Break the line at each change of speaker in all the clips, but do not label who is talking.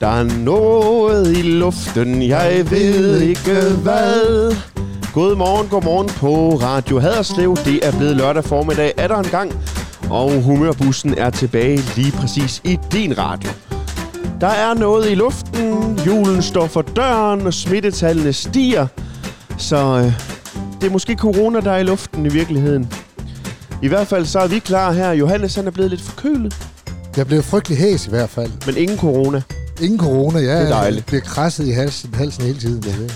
Der er noget i luften, jeg ved ikke hvad. Godmorgen, godmorgen på Radio Haderslev. Det er blevet lørdag formiddag er der en gang. Og humørbussen er tilbage lige præcis i din radio. Der er noget i luften, julen står for døren, og smittetallene stiger. Så øh, det er måske corona, der er i luften i virkeligheden. I hvert fald så er vi klar her. Johannes han er blevet lidt forkølet,
Jeg blev frygtelig hæs i hvert fald.
men ingen corona.
Ingen corona, ja.
Det er dejligt.
Jeg øh, bliver krasset i halsen, halsen hele tiden. Jeg ved.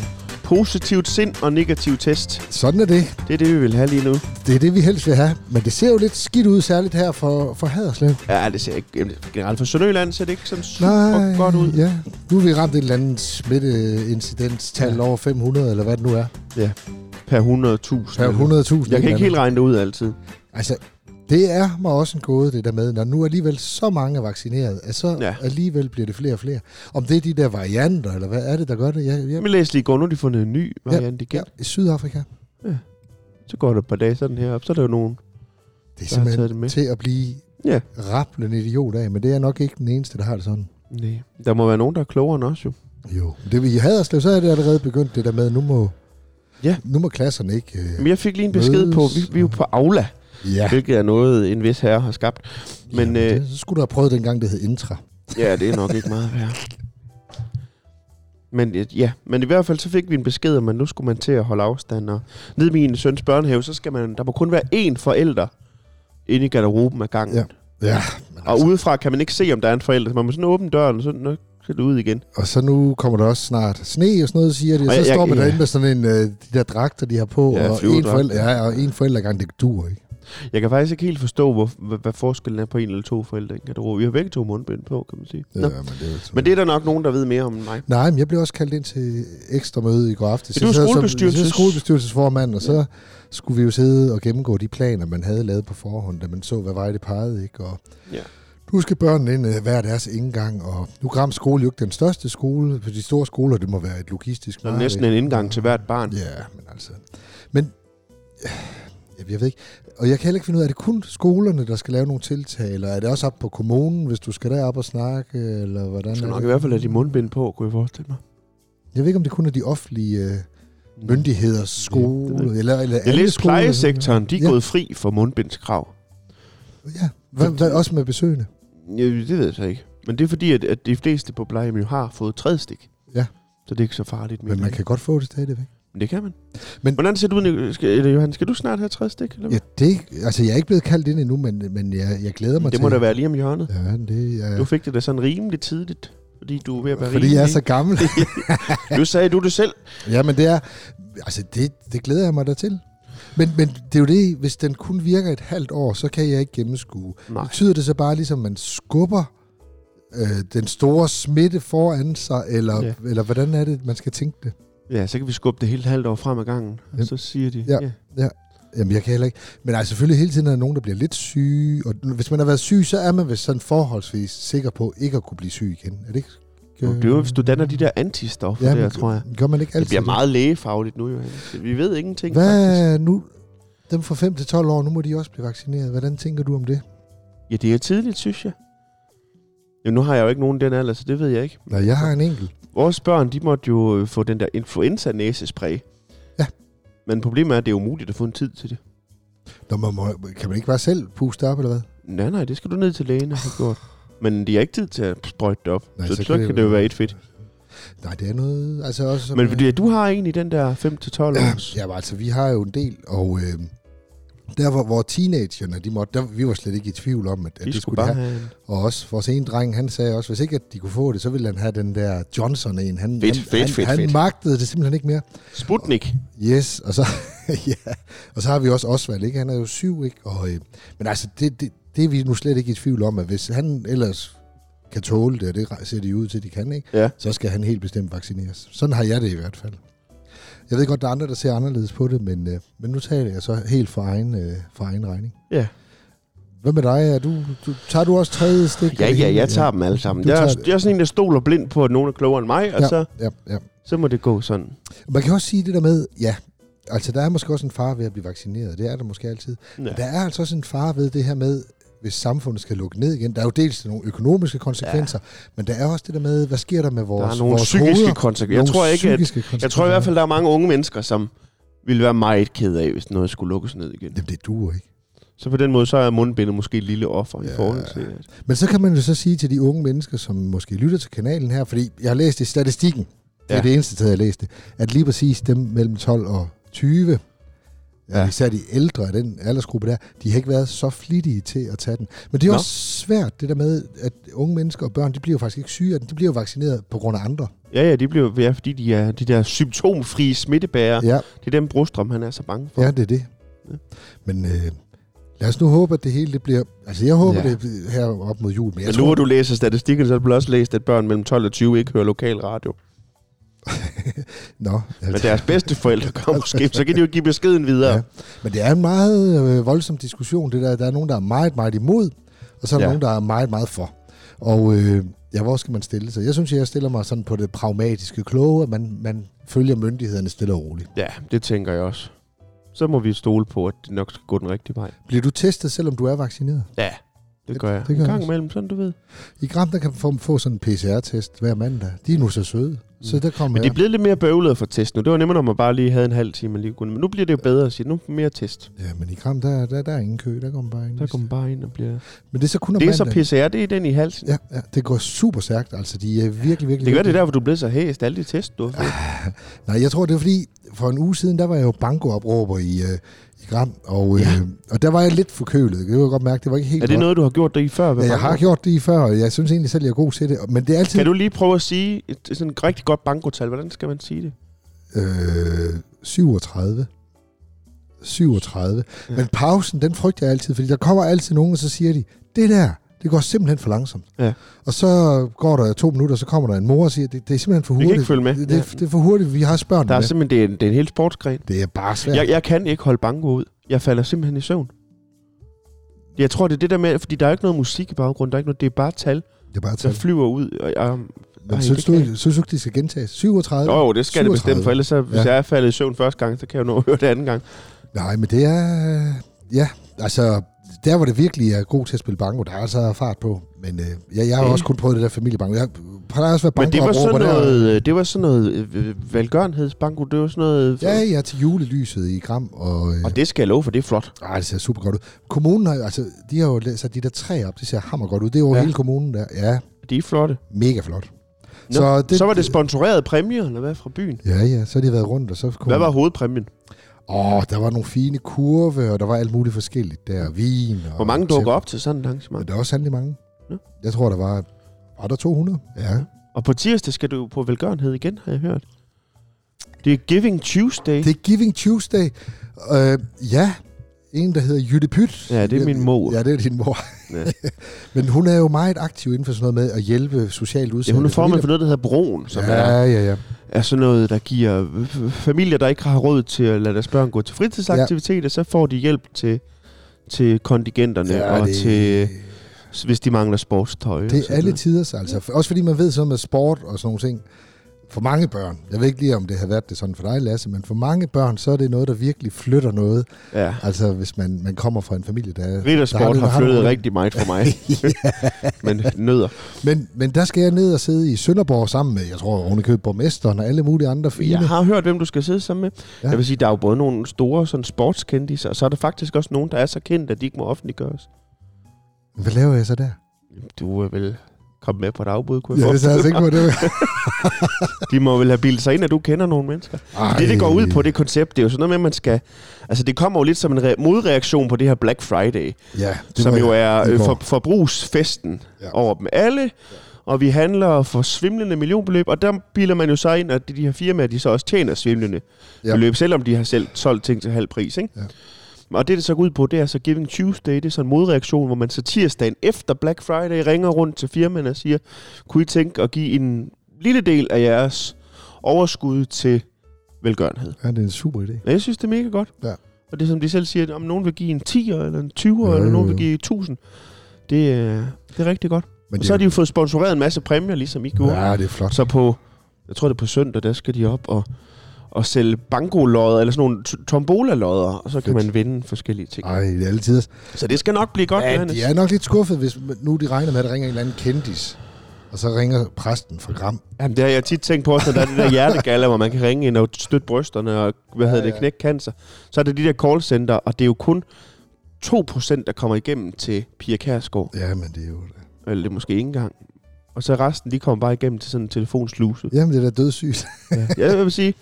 Positivt sind og negativ test.
Sådan er det.
Det er det, vi vil have lige nu.
Det er det, vi helst vil have. Men det ser jo lidt skidt ud, særligt her for, for Haderslev.
Ja, det ser ikke... jamen, Generelt for Sønderjylland ser det ikke sådan super Nej. godt ud.
Ja. Nu er vi ramt et eller andet smitteincidenstal ja. over 500, eller hvad det nu er.
Per 100.000.
Per 100.000.
Jeg kan ikke helt regne det ud altid.
Altså, det er mig også en gåde, det der med, når nu alligevel så mange er vaccineret, at så
Ja.
ja. alligevel bliver det flere og flere. Om det er de der varianter, eller hvad er det, der gør det? Jeg, jeg,
Men læs lige i går, nu har de fundet en ny variant igen.
ja, i Sydafrika.
Så går der et par dage sådan her op, så er der jo nogen.
Det er
Jeg har taget
simpelthen
det
det
med.
med. til at blive
Ja.
ja. rappelende idiot af, men det er nok ikke den eneste, der har det sådan.
Nej. Der må være nogen, der er klogere end os jo.
Jo. Det vi havde os, så er det allerede begyndt det der med, nu må,
Ja.
nu må klasserne ikke...
Men
Øh,
jeg fik lige en besked
Mødes
på, vi, vi er jo på Aula,
ja.
hvilket er noget, en vis herre har skabt. Men
Jamen,
øh,
det, så skulle du have prøvet dengang, det hed Intra.
Ja, det er nok ikke meget værd. Men, øh, ja, men i hvert fald så fik vi en besked om, at nu skulle man til at holde afstand. Og nede i min søns børnehave, så skal man, der må kun være én forælder inde i garderoben ad gangen.
Ja, altså- Ja.
Og udefra kan man ikke se, om der er en forælder. Så man må sådan åbne døren, og så nu skal det ud igen.
Og så nu kommer der også snart sne og sådan noget, siger de. Og
Og
så
jeg- jeg-
står man
ja.
derinde med sådan en, øh, de der dragter, de har på,
Ja,
og, en
flyverdragter.
forældre, ja, og en forældregang, det dur, ikke?
Jeg kan faktisk ikke helt forstå, hvor, hvad, hvad forskellen er på en eller to forældre i en garderobe. Vi har begge to mundbind på, kan man sige.
Ja,
Nå.
men det er jo
Men det er der nok nogen, der ved mere om end mig.
Nej, men jeg blev også kaldt ind til ekstra møde i går aftes.
Ja, du er
Jeg sad som-
skolebestyrelses-
Jeg er skolebestyrelsesformand, og så skulle vi jo sidde og gennemgå de planer, man havde lavet på forhånd, da man så, hvad vej det pegede, ikke? Og
Ja.
nu skal børnene ind øh, hver deres indgang, og nu Gram skole jo ikke den største skole, for de store skoler, det må være et logistisk
Så er der næsten en indgang til hvert barn.
Ja, men altså... Men... øh, Jeg ved ikke. Og jeg kan heller ikke finde ud af, er det kun skolerne, der skal lave nogle tiltag, eller er det også op på kommunen, hvis du skal derop og snakke, eller hvordan
Du skal
er
nok
det?
i hvert fald have de mundbind på, kunne jeg forestille mig.
Jeg ved ikke, om det kun er de offentlige øh, myndigheder,
det ved
skole, eller, eller
Jeg
alle
læste
skoler,
plejesektoren, de er ja.
Ja.
gået fri for mundbindskrav.
Ja, hvad, hvad, også med besøgende.
Ja, det ved jeg så ikke. Men det er fordi, at, at de fleste på plejehjem jo har fået tredje stik.
Ja.
Så det er ikke så farligt.
Men man kan godt få det stadigvæk.
Men det kan man. Men...
Men-
Hvordan ser du ud, Nic- skal, eller Johan? Skal du snart have tredje stik? Eller? hvad?
Ja, det, altså, jeg er ikke blevet kaldt ind endnu, men, men jeg, jeg glæder mig
det
til...
må da være lige om hjørnet.
Ja, det
Ja.
er...
Du fik det da sådan rimelig tidligt, fordi du er ved at være
fordi
rimelig.
jeg er så gammel.
Nu sagde du det selv.
ja, men det er... Altså, det, det glæder jeg mig da til. Men, men det er jo det, hvis den kun virker et halvt år, så kan jeg ikke gennemskue.
Nej.
Betyder det så bare ligesom, at man skubber øh, den store smitte foran sig, eller,
Ja.
ja. eller hvordan er det, man skal tænke det?
Ja, så kan vi skubbe det hele et halvt år frem ad gangen. Og
Ja.
så siger de, ja.
Ja.
ja.
Jamen, jeg kan heller ikke. Men altså, selvfølgelig hele tiden er der nogen, der bliver lidt syge. Og hvis man har været syg, så er man vist sådan forholdsvis sikker på ikke at kunne blive syg igen. Er det ikke?
Og det er jo, hvis du danner de der antistoffer ja,
Ja,
der,
men-
tror jeg.
Gør man ikke altid
Det bliver meget lægefagligt nu, Johan. Vi ved ingenting, faktisk.
Hvad er nu? Dem fra 5 til 12 år, nu må de også blive vaccineret. Hvordan tænker du om det?
Ja, det er tidligt, synes jeg. Ja, nu har jeg jo ikke nogen i den alder, så det ved jeg ikke.
Nej, jeg har en enkelt.
Vores børn, de måtte jo øh, få den der influenza-næsespray.
Ja.
Men problemet er, at det er umuligt at få en tid til det.
Nå, man må, kan man ikke bare selv puste op, eller hvad?
Nej, nej, det skal du ned til lægen og have gjort. Men de har ikke tid til at sprøjte det op. Nej,
Nej,
så,
så
så,
kan
kan
det
det jo
jo-
være et fedt.
Nej, det er noget... Altså også, som-
Men fordi, du har en i den der 5-12 års.
Ja, men altså, vi har jo en del, og øh, der hvor, hvor teenagerne, de måtte, der, vi var slet ikke i tvivl om, at, at
de skulle
det skulle de
bare
have.
have en.
Og også vores ene dreng, han sagde også, hvis ikke at de kunne få det, så ville han have den der Johnson en. Han,
Fedt,
han,
fedt,
han,
fedt,
han
fedt.
magtede det simpelthen ikke mere.
Sputnik.
Yes, og så, ja, og så har vi også Osvald, ikke? Han er jo syv, ikke? Og, øh, men altså, det, det, det er vi nu slet ikke i tvivl om, at hvis han ellers kan tåle det, og det ser de ud til, de kan, ikke?
Ja.
Så skal han helt bestemt vaccineres. Sådan har jeg det i hvert fald. Jeg ved godt, der er andre, der ser anderledes på det, men, øh, men nu taler jeg så helt for egen, øh, for egen regning.
Ja.
Hvad med dig? Er du, du, tager du også tredje stik?
Ja,
eller
ja,
hele?
jeg tager dem alle sammen.
Du
Jeg er,
tager-
jeg er sådan en, der stoler blind på, at nogen er klogere end mig, og
Ja.
så,
Ja, ja.
så må det gå sådan.
Man kan også sige det der med, ja, altså der er måske også en fare ved at blive vaccineret, det er der måske altid.
Ja.
Der er altså også en fare ved det her med, hvis samfundet skal lukke ned igen. Der er jo dels nogle økonomiske konsekvenser, ja. men der er også det der med, hvad sker der med vores
Der er nogle
vores
psykiske
hoveder?
konsekvenser. Jeg
Nogle
tror ikke, at,
psykiske konsekvenser.
jeg tror i hvert fald, der er mange unge mennesker, som ville være meget ked af, hvis noget skulle lukkes ned igen.
Jamen, det duer ikke.
Så på den måde, så er mundbindet måske et lille offer ja. i
Ja.
forhold til... At
Men så kan man jo så sige til de unge mennesker, som måske lytter til kanalen her, fordi jeg har læst i statistikken, det er
Ja.
ja. det eneste sted, jeg læste, at lige præcis dem mellem 12 og 20,
Ja.
ja. især de ældre af den aldersgruppe der, de har ikke været så flittige til at tage den. Men det er
Nå.
Nå. også svært, det der med, at unge mennesker og børn, de bliver jo faktisk ikke syge af den, de bliver jo vaccineret på grund af andre.
ja, ja, de bliver, ja, fordi de er de der symptomfrie smittebærere. Ja.
Ja,
Det er den Brostrøm, han er så bange for.
ja det er det.
Ja.
Men øh, lad os nu håbe, at det hele det bliver... Altså, jeg håber
Ja.
ja. det her op mod jul, men jeg
Men nu
tror...
hvor du læser statistikken, så har du vel også læst, at børn mellem 12 og 20 ikke hører lokal radio.
Nå,
Men deres bedste forældre kommer måske, så kan de jo give beskeden videre. Ja.
Ja. Men det er en meget øh, voldsom diskussion, det der. Der er nogen, der er meget, meget imod, og så er der
Ja.
ja. nogen, der er meget, meget for. Og øh, ja, hvor skal man stille sig? Jeg synes, jeg stiller mig sådan på det pragmatiske kloge, at man, man følger myndighederne stille og roligt.
ja, det tænker jeg også. Så må vi stole på, at det nok skal gå den rigtige vej.
Bliver du testet, selvom du er vaccineret?
Ja, det gør jeg.
det gør
en
jeg
gang
også.
imellem, sådan du ved.
I Gram, der kan man få, få sådan en PCR-test hver mandag. De er nu så søde. Så der kommer
Mm. Men det er
jeg.
blevet lidt mere bøvlet at få test nu. Det var nemmere, når man bare lige havde en halv time. man Lige kunne. Men nu bliver det jo bedre at sige, nu mere test.
Ja, men i Gram, der, der, der er ingen kø. Der kommer bare ind.
Der går man bare ind og bliver...
Men det er så kun om
Det er så
mandagen.
PCR, det er den i halsen.
Ja, ja, det går super stærkt. Altså, de er virkelig,
Det
virkelig...
gør
virkelig-
det der, hvor du er blevet så hæst. Alle de test, du har fået.
Nej, jeg tror, det er fordi, for en uge siden, der var jeg jo bankoopråber i, øh, i Gram, og,
Ja.
ja. øh, og der var jeg lidt forkølet. Det kan jeg godt mærke, det var ikke helt
Er det
godt.
noget, du har gjort dig i før?
Ja, jeg har gjort det i før, og jeg synes egentlig selv, jeg er god til det. Men det er altid...
Kan du lige prøve at sige et, sådan et rigtig godt bankotal? Hvordan skal man sige det?
Øh, 37. 37.
Ja.
Ja. Men pausen, den frygter jeg altid, fordi der kommer altid nogen, og så siger de, det der, det går simpelthen for langsomt.
Ja.
Og så går der to minutter, og så kommer der en mor og siger, det, det er simpelthen for
Vi kan
hurtigt.
ikke følge med."
Det, det,
Ja.
er- det er for hurtigt, vi har også børn
Der er
med.
simpelthen, det er en, det er en hel sportsgren.
Det er bare svært.
Jeg, jeg kan ikke holde banko ud. Jeg falder simpelthen i søvn. Jeg tror, det er det der med, fordi der er ikke noget musik i baggrunden, der er ikke noget, det er bare tal,
Det er bare
der
tal.
flyver ud. Og jeg,
Men
Ej,
synes
det
du,
kan
ikke- synes du ikke, det skal gentages? 37?
Nå jo, det skal 37. det
37.
bestemme, for ellers så, hvis ja.
Ja.
jeg er faldet i søvn første gang, så kan jeg jo nå at høre det anden gang.
Nej, men det er... Ja, altså... Der, hvor det virkelig er god til at spille banko, der er altså fart på. Men øh, jeg, jeg har
Ja.
også kun prøvet det der familiebanko. Jeg har også været
Men det var sådan
bankoopråber der.
noget, øh, det var sådan noget øh, velgørenhedsbanko, det var sådan noget...
Ja, jeg er til julelyset i Gram, og... Øh,
Og det skal jeg love for, det er flot.
ej, det ser super godt ud. Kommunen har jo, altså, de har jo sat de der træer op, det ser hammer godt ud. Det er over
Ja.
ja. hele kommunen der. Ja,
De er flotte.
mega flot.
Nå, Så var det sponsoreret præmier, eller hvad, fra byen?
Ja, ja, så har de været rundt, og så kom...
Hvad var hovedpræmien?
Åh, der var nogle fine kurve, og der var alt muligt forskelligt der. Vin og...
Hvor mange dukker op til sådan et
Men
arrangement?
der er også sandelig mange.
Ja.
Ja. Jeg tror, der var... Var der 200? Ja.
Og på tirsdag skal du på velgørenhed igen, har jeg hørt. Det er Giving Tuesday.
Det er Giving Tuesday. Øh, ja, en, der hedder Jytte Pyt.
Ja, det er min mor.
Ja, det er din mor.
Ja.
Ja. Men hun er jo meget aktiv inden for sådan noget med at hjælpe socialt
Ja,
udsatte.
hun er formand for
familier.
noget, der hedder Broen, som ja. er,
Ja, ja, ja.
er sådan noget, der giver øh, f- familier, der ikke har råd til at lade deres børn gå til fritidsaktiviteter, ja. så får de hjælp til, til kontingenterne, ja,
ja
og
det,
til, øh, hvis de mangler sportstøj. og
det er
sådan
alle
noget.
tiders, altså. Også fordi man ved sådan noget med sport og sådan nogle ting. For mange børn, jeg ved ikke lige, om det har været det sådan for dig, Lasse, men for mange børn, så er det noget, der virkelig flytter noget.
Ja.
Altså, hvis man, man kommer fra en familie, der... der
Riddersport
har
har,
det-
har
har det
flyttet
noget.
rigtig meget for mig. Men nødder.
Men, men der skal jeg ned og sidde i Sønderborg sammen med, jeg tror, Rune Køb, borgmesteren og alle mulige andre fine.
Jeg har hørt, hvem du skal sidde sammen med. Ja.
Ja.
Jeg vil sige, der er jo både nogle store sådan sportskendiser, og så er der faktisk også nogen, der er så kendte, at de ikke må offentliggøres.
Hvad laver jeg så der?
Du er vel kommet med på et afbud, kunne jeg
Ja,
ja,
det er jeg altså ikke på. Det.
De må vel have bildet sig ind, at du kender nogle mennesker. Ej. Det, det går ud på, det koncept, det er jo sådan noget med, at man skal... Altså, det kommer jo lidt som en re- modreaktion på det her Black Friday,
Ja,
det som
var
jo
jeg
er
i
øh,
går.
for, forbrugsfesten ja.
Ja.
over dem alle, ja. og vi handler for svimlende millionbeløb, og der bilder man jo så ind, at de de her firmaer, de så også tjener svimlende ja.
Ja.
beløb, selvom de har selv solgt ting til halv pris, ikke?
Ja.
Og det, det så går ud på, det er så Giving Tuesday, det er sådan en modreaktion, hvor man så tirsdagen efter Black Friday ringer rundt til firmaerne og siger, kunne I tænke at give en lille del af jeres overskud til velgørenhed?
Ja, det er en super idé.
Og jeg synes, det er mega godt.
Ja.
Og det er som de selv siger, om nogen vil give en 10'er, eller en 20'er, ja,
Ja,
eller
jo,
nogen
jo.
vil give 1000. Det, er- det er rigtig godt.
Men
Og så har de jo fået sponsoreret en masse præmier, ligesom I gjorde. Ja.
Ja, det er flot.
Så på, jeg tror det er på søndag, der skal de op og, at sælge bankolodder, eller sådan nogle t- tombola-lodder, og så kan
Fedt.
man vinde forskellige ting.
Ej, det er altid.
Så det skal nok blive godt,
Ja,
Johannes.
de er nok lidt skuffet, hvis nu de regner med, at der ringer en eller anden kendis. Og så ringer præsten fra Gram.
Jamen, det har jeg tit tænkt på, også, når der er det der hjertegalla, hvor man kan ringe ind og støtte brysterne og, hvad hedder
Ja,
det,
ja.
knække cancer. Så er det de der callcenter, og det er jo kun 2% der kommer igennem til Pia Kærsgaard.
Ja, men det er jo...
Eller det er måske ikke engang. Og så resten, de kommer bare igennem til sådan en telefonsluse.
Jamen, det er da dødssygt.
Ja. Jeg vil sige,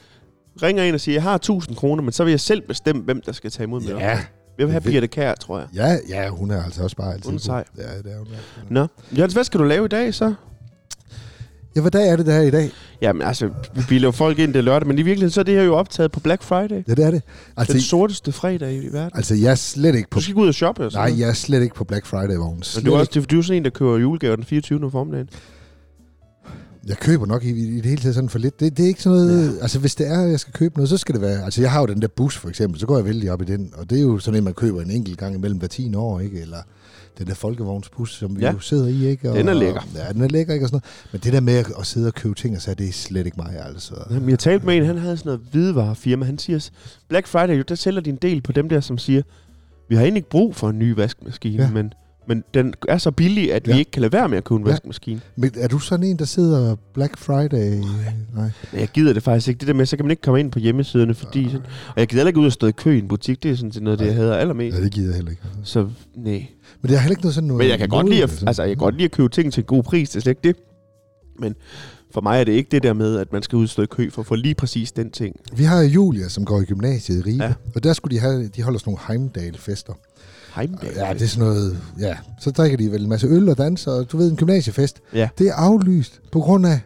ringer ind og siger, jeg har 1000 kroner, men så vil jeg selv bestemme, hvem der skal tage imod med.
Ja,
Jeg vil have
det er
Birte Kær, tror jeg.
ja, ja, hun er altså også bare altid.
Hun er
god.
sej.
Ja, det er hun. altså.
Nå, Jens, hvad skal du lave i dag så?
Ja, hvad dag er det, der er i dag?
Jamen altså, vi bilder jo folk ind, det er lørdag, men i virkeligheden så er det her jo optaget på Black Friday.
Ja, det er det. Altså,
Den sorteste fredag i verden.
altså jeg er slet ikke på...
Du skal ikke ud og shoppe og sådan
Nej,
noget.
jeg er slet ikke på Black Friday-vognen.
Men du er, også, det er- du er sådan en, der køber julegaver den 24. om formiddagen.
Jeg køber nok i, i det hele taget sådan for lidt. Det, det er ikke sådan noget... Ja. Altså, hvis det er, at jeg skal købe noget, så skal det være... Altså, jeg har jo den der bus, for eksempel. Så går jeg vældig op i den. Og det er jo sådan en, man køber en enkelt gang imellem hver 10 år, ikke? Eller den der folkevognsbus, som vi
Ja.
ja. jo sidder i, ikke? Og,
Den er lækker.
Ja, den er lækker, ikke? Og sådan noget. Men det der med at, at sidde og købe ting, og så er det slet ikke mig, altså.
Jamen, jeg talte med en, han havde sådan noget hvidevarefirma. Han siger, Black Friday, jo, der sælger de en del på dem der, som siger, vi har egentlig ikke brug for en ny vaskemaskine, ja.
Ja.
men, men den er så billig, at ja. vi
Ja.
ikke kan lade være med at købe en
Ja.
vaskemaskine.
Men er du sådan en, der sidder Black Friday? Nej.
Men jeg gider det faktisk ikke. Det der med, så kan man ikke komme ind på hjemmesiderne, fordi... Sådan, og jeg gider heller ikke ud og stå i kø i en butik. Det er sådan set noget, det jeg hader allermest.
Ja, det gider jeg heller ikke.
Så nej.
Men det er heller ikke noget sådan noget...
Men jeg kan godt lide at,
sådan-
altså, jeg kan godt lide at købe ting til en god pris, det er slet ikke det. Men for mig er det ikke det der med, at man skal ud og stå i kø for at få lige præcis den ting.
Vi har Julia, som går i gymnasiet i Ribe,
Ja.
ja. og der skulle de have, de holder sådan nogle Heimdal-fester.
Heimdall.
Ja, det er sådan noget, ja. Så drikker de vel en masse øl og danser, og du ved, en gymnasiefest.
Ja.
Det er aflyst på grund af,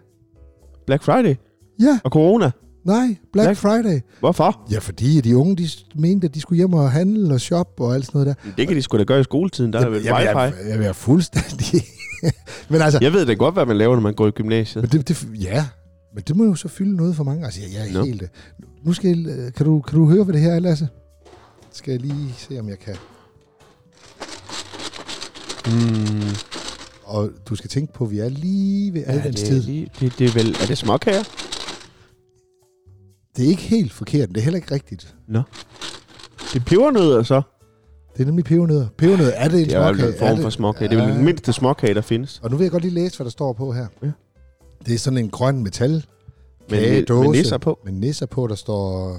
Black Friday
ja,
og corona.
nej, Black
Black-
Black Friday.
Hvorfor?
Ja, fordi de unge, de mente, at de skulle hjem og handle og shoppe og alt sådan noget der.
Det kan de sgu da gøre i skoletiden, der er vel
jeg, jeg,
wifi.
jeg, jeg, jeg er fuldstændig... men altså,
Jeg ved da godt, hvad man laver, når man går i gymnasiet.
men det, det, ja, men det må jo så fylde noget for mange. Altså, jeg, jeg er
Nå.
no. helt... øh, Nu skal jeg, øh, kan, du, kan du høre, hvad det her er, Lasse? Skal jeg lige se, om jeg kan...
Mm,
Og du skal tænke på, at vi er lige ved
er
adventstid.
det, lige- det, det, er vel... Er det småkager?
Det er ikke helt forkert, men det er heller ikke rigtigt.
Det er pebernødder så.
Det er nemlig pebernødder. Pebernødder, er det en
Det er jo
småkage?
en form for småkage. Det er vel den mindste småkage, der findes.
Og nu vil jeg godt lige læse, hvad der står på her.
Ja.
Det er sådan en grøn metal
Men
kagedåse
med nisser på.
med nisser på, der står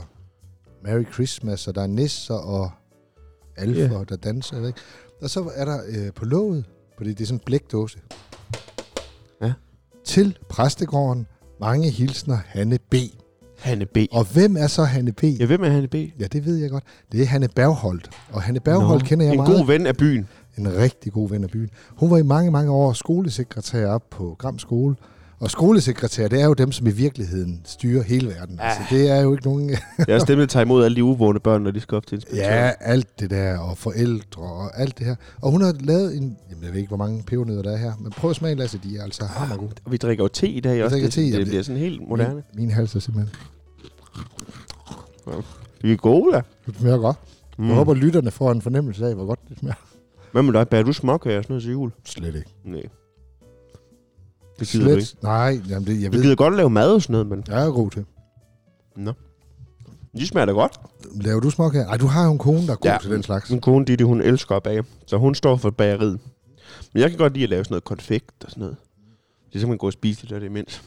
Merry Christmas, og der er nisser og alfer,
Ja.
der danser. Jeg ved ikke. Og så er der øh, på låget, fordi det er sådan en blækdåse.
Ja.
Til præstegården, mange hilsner Hanne B.
Hanne B.
Og hvem er så Hanne B?
Jeg ved med Hanne B.
Ja, det ved jeg godt. Det er Hanne Bergholdt. Og Hanne Bergholdt
Nå,
kender jeg
en
meget.
god ven af byen.
En rigtig god ven af byen. Hun var i mange, mange år skolesekretær op på Gram Skole. Og skolesekretær, det er jo dem, som i virkeligheden styrer hele
Ah.
verden. Altså, det er jo ikke nogen...
Det er også dem, der tager imod alle de uvågne børn, når de skal op til inspektøren.
ja, alt det der, og forældre, og alt det her. Og hun har lavet en... Jamen, jeg ved ikke, hvor mange pebernødder der er her, men prøv at smage, Lasse, de er altså
Ah,
hammergode.
Og vi drikker jo te i dag også.
drikker
det, er sådan-
te,
det
jamen,
bliver sådan helt moderne.
Min, min hals er simpelthen...
Vi er gode, da.
Det smager godt. Mm. Jeg håber, lytterne får en fornemmelse af, hvor godt det smager.
Hvad med dig? Bærer du småkager og sådan noget til jul?
Slet ikke.
Nej. Det gider du ikke.
Nej, jamen det, jeg
Du
ved,
gider godt lave mad og sådan noget, men
jeg er god til.
de smager da godt.
Laver du småkager? Ej, du har jo en kone, der er god
Ja, Mm.
ja, til den slags.
Min kone Ditte, hun elsker at bage, så hun står for bageriet. Men jeg kan godt lide at lave sådan noget konfekt og sådan noget. Det er simpelthen gå og spise det der, det er imens.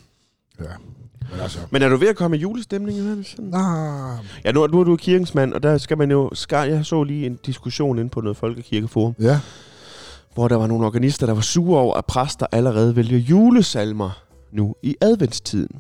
Ja. Men altså...
Men er du ved at komme i julestemning, Johannes? Sådan?
Ah,
Ja, nu, nu er du kirkens mand, og der skal man jo... Skar, jeg så lige en diskussion inde på noget folkekirkeforum,
ja.
hvor der var nogle organister, der var sure over, at præster allerede vælger julesalmer nu i adventstiden.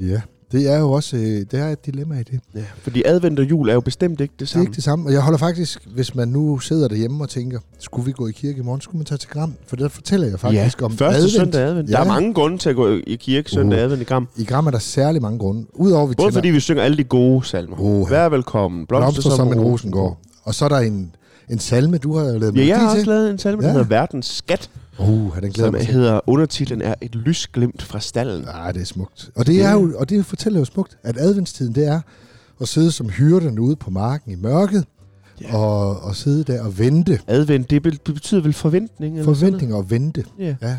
Ja. Det er jo også øh, det er et dilemma i det.
Ja, fordi advent og jul er jo bestemt ikke det
Det er
samme.
ikke det samme. Og jeg holder faktisk, hvis man nu sidder derhjemme og tænker, skulle vi gå i kirke i morgen, skulle man tage til Gram? For der fortæller jeg faktisk
ja,
om
første
advent.
søndag i advent. Ja. Der
Ja.
er mange grunde til at gå i kirke søndag
Uh.
advent i Gram.
I Gram er der særlig mange grunde. Udover vi
Både
tænder
fordi vi synger alle de gode salmer.
Oha.
Vær velkommen. Blomster,
blomster som en rosengård. Og så er der en, en salme, du har lavet
Ja, jeg har
melodi
også lavet en salme, der
Ja.
hedder Verdens Skat,
Uh, den glæder
som
mig til.
hedder, undertitlen er Et lysglimt fra stallen.
Ah, det er smukt. Og det, er jo, og det fortæller jo smukt, at adventstiden det er at sidde som hyrden ude på marken i mørket,
Ja.
ja. og, og sidde der og vente.
Advent, det be- betyder vel forventning? Eller sådan
Forventninger og vente.
noget? Ja.
Ja.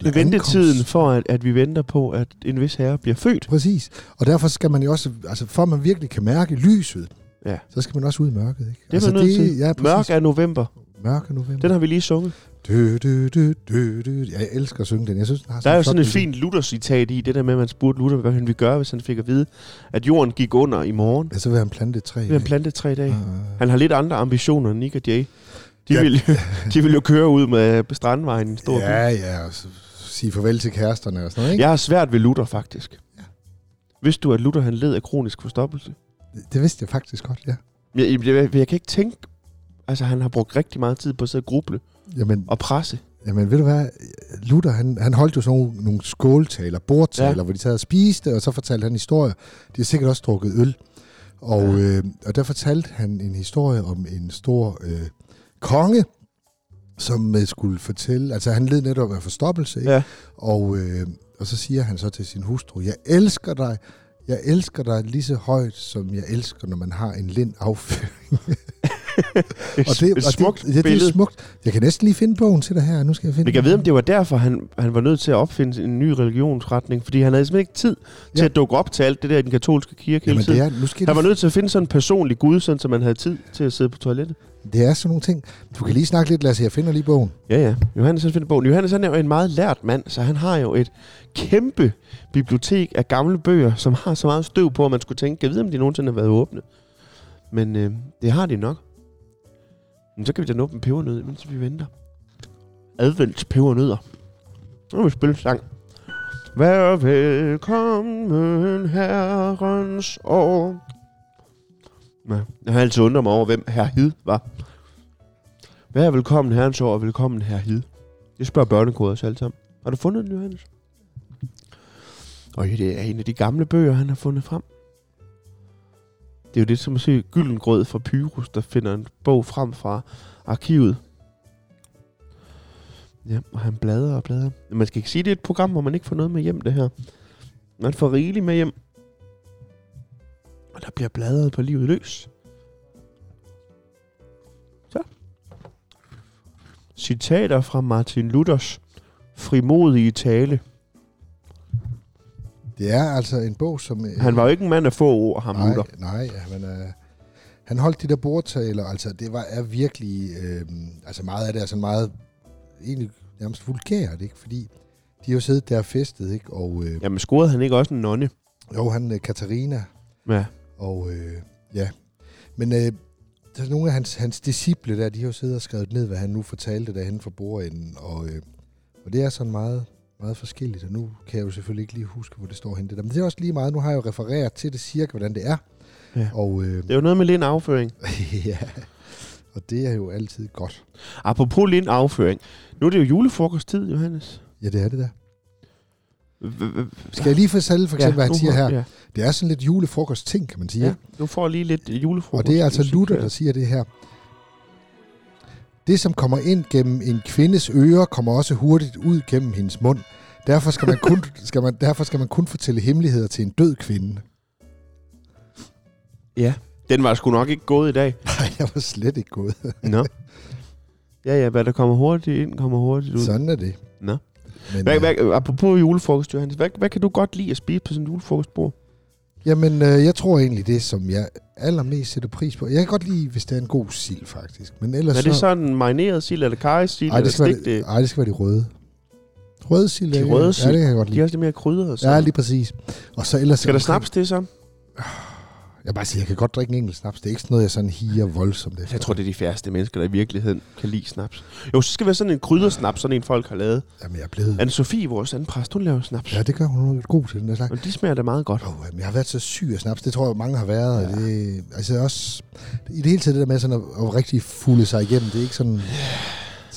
Eller
ventetiden
ankomst.
for, at, at vi venter på, at en vis herre bliver født.
Præcis. Og derfor skal man jo også, altså for at man virkelig kan mærke lyset,
Ja.
så skal man også ud i mørket. Ikke?
Det er altså, man nødt til.
Ja,
Mørk
præcis.
er november.
Mørke november.
Den har vi lige sunget.
Du, du, du, du, du. Jeg elsker at synge den. Jeg synes, den har
Der er jo
en Altså, flot
sådan et
melodi.
fint Luther-citat i, det der med, at man spurgte Luther, hvad han ville gøre, hvis han fik at vide, at jorden gik under i morgen.
Ja, så vil han plante et træ.
Det vil han
ikke?
plante tre dage.
Ah.
Han har lidt andre ambitioner end Nick og Jay. De,
Ja.
vil, de vil jo køre ud med øh, Strandvejen i en stor by.
Ja, ja, og så sige farvel til kæresterne og sådan noget, ikke?
Jeg har svært ved Luther, faktisk.
Ja.
Vidste du, at Luther han led af kronisk forstoppelse?
Det vidste jeg faktisk godt, ja.
Jeg, jeg, jeg, jeg kan ikke tænke... Altså, han har brugt rigtig meget tid på at sidde og gruble
Jamen,
og presse.
jamen ved du hvad, Luther, han, han holdt jo sådan nogle, nogle skåltaler, bordtaler,
Ja.
ja. hvor de sad og spiste, og så fortalte han historier. De har sikkert også drukket øl. Og, ja. øh, og der fortalte han en historie om en stor øh, konge, som øh, skulle fortælle, altså han led netop af forstoppelse, ikke?
Ja.
Og, øh, og så siger han så til sin hustru, jeg elsker dig, jeg elsker dig lige så højt, som jeg elsker, når man har en lind afføring.
Et, og det, et smukt
og det, ja, det
billede.
er smukt. Jeg kan næsten lige finde bogen til dig her. Nu skal jeg finde
Men jeg ved, om det var derfor, han, han var nødt til at opfinde en ny religionsretning, fordi han havde simpelthen ikke tid til
Ja.
at dukke op til alt det der i den katolske kirke
Jamen,
hele
det
tiden.
er, nu skal
Han var
jeg
nødt til at finde sådan en personlig gud, sådan, så man havde tid til at sidde på toilettet.
lige, det er sådan nogle ting. Du kan lige snakke lidt, lad os se, jeg finder lige bogen.
Ja, ja. Johannes han finder bogen. Johannes han er jo en meget lært mand, så han har jo et kæmpe bibliotek af gamle bøger, som har så meget støv på, at man skulle tænke, jeg ved, om de nogensinde har været åbne. Men øh, det har de nok. Men så kan vi da nå en pebernød, mens vi venter. Adventspebernødder. Nu vil vi spille sang. Vær velkommen, herrens år. Ja, jeg har altid undret mig over, hvem herr Hid var. Vær velkommen, herrens år, og velkommen, herr Hid. Det spørger børnekoder os alle sammen. Har du fundet den, Johannes? Og det er en af de gamle bøger, han har fundet frem. Det er jo lidt som at se Gyldengrød fra Pyrus, der finder en bog frem fra arkivet. Ja, og han bladrer og bladrer. Men Man skal ikke sige, det er et program, hvor man ikke får noget med hjem, det her. Man får rigeligt med hjem. Og der bliver bladret på livet løs. Så. Citater fra Martin Luthers frimodige tale.
Det er altså en bog, som... øh,
Han var jo ikke en mand af få ord, ham
nej,
Luther.
nej, men øh, han holdt de der bordtaler, altså det var er virkelig, øh, altså meget af det er sådan meget, egentlig nærmest vulgært, ikke? Fordi de har jo siddet der og festet, ikke? Og øh,
Jamen, scorede han ikke også en nonne?
jo, han, øh, Katarina,
Ja.
Og øh, ja, men øh, der er nogle af hans, hans disciple der, de har jo siddet og skrevet ned, hvad han nu fortalte derhen for bordenden, og, øh, og det er sådan meget, meget forskelligt, og nu kan jeg jo selvfølgelig ikke lige huske, hvor det står henne det der, men det er også lige meget, nu har jeg jo refereret til det cirka, hvordan det er,
Ja.
og øh,
Det er jo noget med lind afføring.
ja, og det er jo altid godt.
Apropos lind afføring. Nu er det jo julefrokosttid, Johannes.
Ja, det er det der.
H- h-
Skal jeg lige fortælle for eksempel, ja, hvad han
nu
siger
får-
her?
Ja.
Det er sådan lidt julefrokostting, kan man sige,
Ja.
ikke?
Nu får jeg lige lidt julefrokost.
Og det er altså Luther, der
der...
siger det her. Det, som kommer ind gennem en kvindes ører, kommer også hurtigt ud gennem hendes mund. Derfor skal man kun, skal man, derfor skal man kun fortælle hemmeligheder til en død kvinde.
Den var sgu nok ikke gået i dag.
Nej, jeg var slet ikke gået.
Nå. Ja, ja, hvad der kommer hurtigt ind, kommer hurtigt ud. Så.
Sådan er det.
Nå.
Men,
Hvad,
øh,
hvad, apropos julefrokost, Johannes, hvad, hvad kan du godt lide at spise på sådan en julefrokostbord?
Jamen, øh, jeg tror egentlig, det som jeg allermest sætter pris på. Jeg kan godt lide, hvis det er en god sild, faktisk. Men ellers
Er det
så...
sådan en marineret sild, eller karrysild,
Ej,
eller
det skal,
stik
være,
det?
ej, det skal være de røde. Røde sild.
De
er-
røde
Ja,
sild.
det kan jeg godt
De er
lide.
også lidt mere krydret.
Ja, lige præcis. Og så ellers...
Skal der
omkring-
snaps til så?
Jeg vil bare sige, jeg kan godt drikke en enkelt snaps. Det er ikke sådan noget, jeg sådan higer voldsomt efter.
Altså, Jeg tror, det er de færreste mennesker, der i virkeligheden kan lide snaps. Jo, så skal det være sådan en kryddersnaps, sådan en folk har lavet.
Jamen, jeg er blevet...
Anne-Sophie, vores anden præst, hun laver snaps.
Ja, det gør hun. Hun er god til den der slags.
Og de smager da meget godt.
Oh, jamen, jeg har været så syg af snaps. Det tror jeg, mange har været.
Ja.
Ja. Det, altså også... I det hele taget det der med sådan at, at rigtig fulde sig igennem. Det er ikke sådan...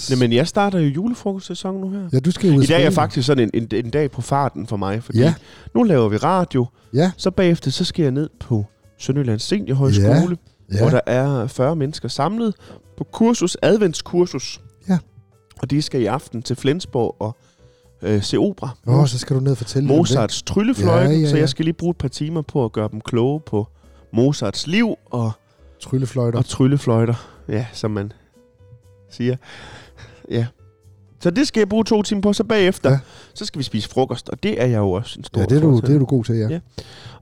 Nej, men jeg starter jo julefrokostsæsonen nu her.
Ja, du skal jo ud
I
og
dag er
spille.
faktisk sådan en, en, en dag på farten for mig, fordi ja.
Ja.
nu laver vi radio,
Ja,
så bagefter så skal jeg ned på Sønderjyllands Seniorhøjskole, ja. hvor
ja.
der er 40 mennesker samlet på kursus, adventskursus.
Ja.
Og de skal i aften til Flensborg og øh, se opera.
Åh, oh, så skal du ned og fortælle lidt om det.
Mozarts tryllefløjte, ja,
Ja,
ja,
ja,
ja. så
ja.
jeg skal lige bruge et par timer på at gøre dem kloge på Mozarts liv og,
Tryllefløjter.
og tryllefløjter, ja, som man siger. Ja. Så det skal jeg bruge to timer på, så bagefter, ja.
Ja.
så skal vi spise frokost, og det er jeg jo også en stor
Ja, det er, du,
fortaler
det er du god til, ja.
Ja.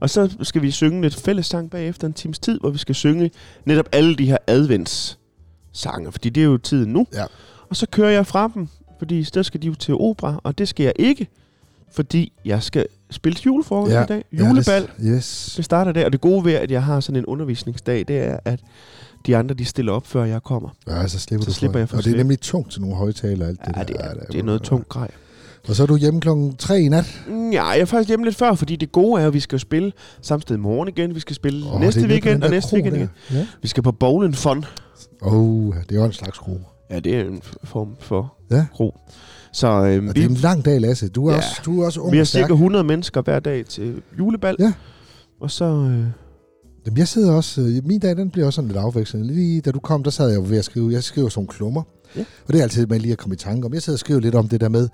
og så skal vi synge lidt fællessang bagefter en times tid, hvor vi skal synge netop alle de her adventssange, fordi det er jo tiden nu.
Ja.
Og så kører jeg fra dem, fordi der skal de jo til opera, og det skal jeg ikke, fordi jeg skal spille til julefrokost ja. i dag. Julebal, ja, det...
Ja, det, yes.
det starter der, og det gode ved, at jeg har sådan en undervisningsdag, det er, at de andre, de stiller op, før jeg kommer.
Ja, så slipper
Så
du
slipper
for det.
jeg for
Og det er
slæb.
nemlig tungt til nogle højtaler og alt det
Ja,
der.
det er,
der
det er noget tungt grej. Mm,
Og så er du hjemme klokken 3 i nat.
Ja, jeg er faktisk hjemme lidt før, fordi det gode er, at vi skal jo spille samme sted i morgen igen. Vi skal spille oh,
Åh,
næste
det er virkelig
weekend
den
og
der
næste
kro
weekend
der.
igen.
Ja.
Vi skal på Bowlen Fun.
Oh, det er jo en slags kro.
Ja, det er en f- form for ja.
Ja.
ro. Så øhm,
Og det
vi,
er en lang dag, Lasse. Du er,
Ja.
ja. også, du er også ung
vi har
og stærk.
cirka 100 mennesker hver dag til julebal.
Ja.
Og så... Øh,
Jamen, jeg sidder også, øh, min dag den bliver også sådan lidt afvekslende. Lige da du kom, der sad jeg jo ved at skrive, jeg skriver sådan nogle klummer.
Ja.
Og det er altid med lige at komme i tanke om. Jeg sidder og skriver lidt om det der med,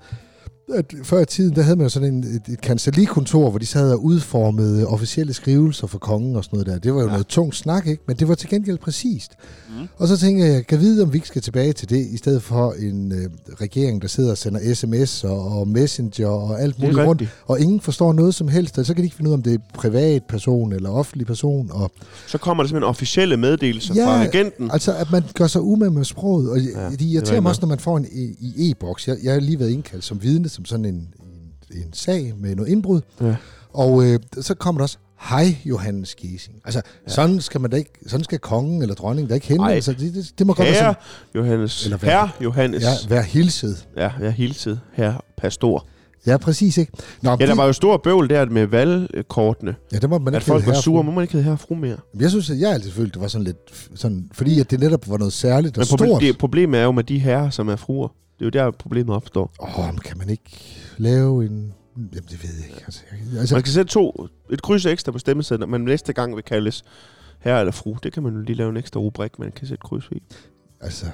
at før i tiden, der havde man jo sådan en, et, et kanselikontor, hvor de sad og udformede officielle skrivelser for kongen og sådan noget der. Det var jo
Ja.
ja. noget tungt snak, ikke? Men det var til gengæld præcist. Mm. Og så tænker jeg, kan vide, om vi ikke skal tilbage til det, i stedet for en øh, regering, der sidder og sender sms og, og messenger og alt
det
muligt
er
rundt
rigtigt.
og ingen forstår noget som helst, og så kan de ikke finde ud af, om det er privat person eller offentlig person. Og,
Så kommer der simpelthen officielle meddelelser ja.
Ja.
fra agenten.
altså, at man gør sig umage med sproget, og ja,
det
de
er
irriterer mig
nok.
også, når man får en e- i e-boks. Jeg, jeg har lige været indkaldt som vidne, som sådan en, en, en sag med noget indbrud,
Ja.
og øh, så kommer der også, hej Johannes Giesing. Altså, ja. sådan, skal man da ikke, sådan skal kongen eller dronningen da ikke
Ej.
henvende sig. Det, det, det må godt være
Herre
sådan,
Johannes.
Eller hvad?
Herre Johannes.
ja, være hilset.
Ja, jeg hilsede. Herre Pastor.
Ja, præcis, ikke? Nå,
Ja, der var jo stor bøvl der med valgkortene.
ja, det må
At
man ikke
folk
hedde
var
herre-
sure. Må man ikke hedde herre og fru mere?
Jeg synes, at jeg altid følte, det var sådan lidt... f- Sådan, fordi at det netop var noget særligt og
Men
stort.
proble- det, problemet er jo med de herrer, som er fruer. Det er jo der, problemet opstår.
Åh, oh, kan man ikke lave en... Jamen, det ved jeg ikke. Altså, jeg- altså,
Man skal sætte to, et kryds ekstra på stemmesedlen, men næste gang vil kaldes herre eller fru. Det kan man jo lige lave en ekstra rubrik, man kan sætte kryds i.
altså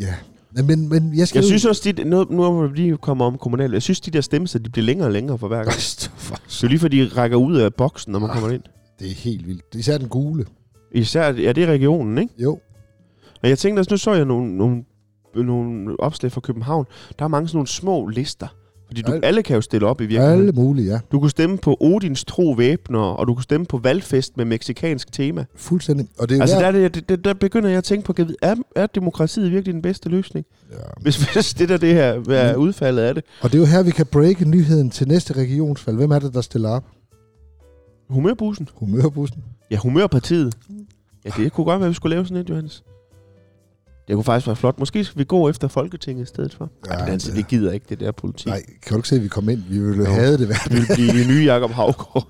ja. Men, men, men jeg skal
Jeg
jo...
synes også, de, nu, nu er vi lige kommet om kommunalt. Jeg synes, de der stemmesedler, de bliver længere og længere for hver gang.
Christopher,
Så lige fordi de rækker ud af boksen, når man
Ah.
kommer ind.
Det er helt vildt. Især den gule.
Især, ja, det er regionen, ikke?
Jo.
Og jeg tænkte også, nu så jeg nogle, nogle, nogle opslag fra København. Der er mange sådan nogle små lister. Fordi du,
Al-
alle kan jo stille op i virkeligheden.
Alle mulige, ja.
Du kunne stemme på Odins tro væbner, og du kunne stemme på valgfest med meksikansk tema.
Fuldstændig. Og det er
Altså,
jo
der, er det, det- det, der begynder jeg at tænke på, kan jeg vide, er, er demokratiet virkelig den bedste løsning?
Ja.
Hvis, hvis det der det her er
Mm.
udfaldet af det.
Og det er jo her, vi kan breake nyheden til næste regionsvalg. Hvem er det, der stiller op?
Humørbussen?
Humørbussen?
Ja, humørpartiet. Ja, det kunne godt være, at vi skulle lave sådan et, Johannes. Det kunne faktisk være flot. Måske skal vi gå efter Folketinget i stedet for. Ja,
Ja,
det, er altså,
det-
det gider ikke, det der politik.
Nej, kan du ikke se, at vi kom ind? Vi ville
Jo.
jo have det værd.
Vi vil blive de nye Jacob Havgård.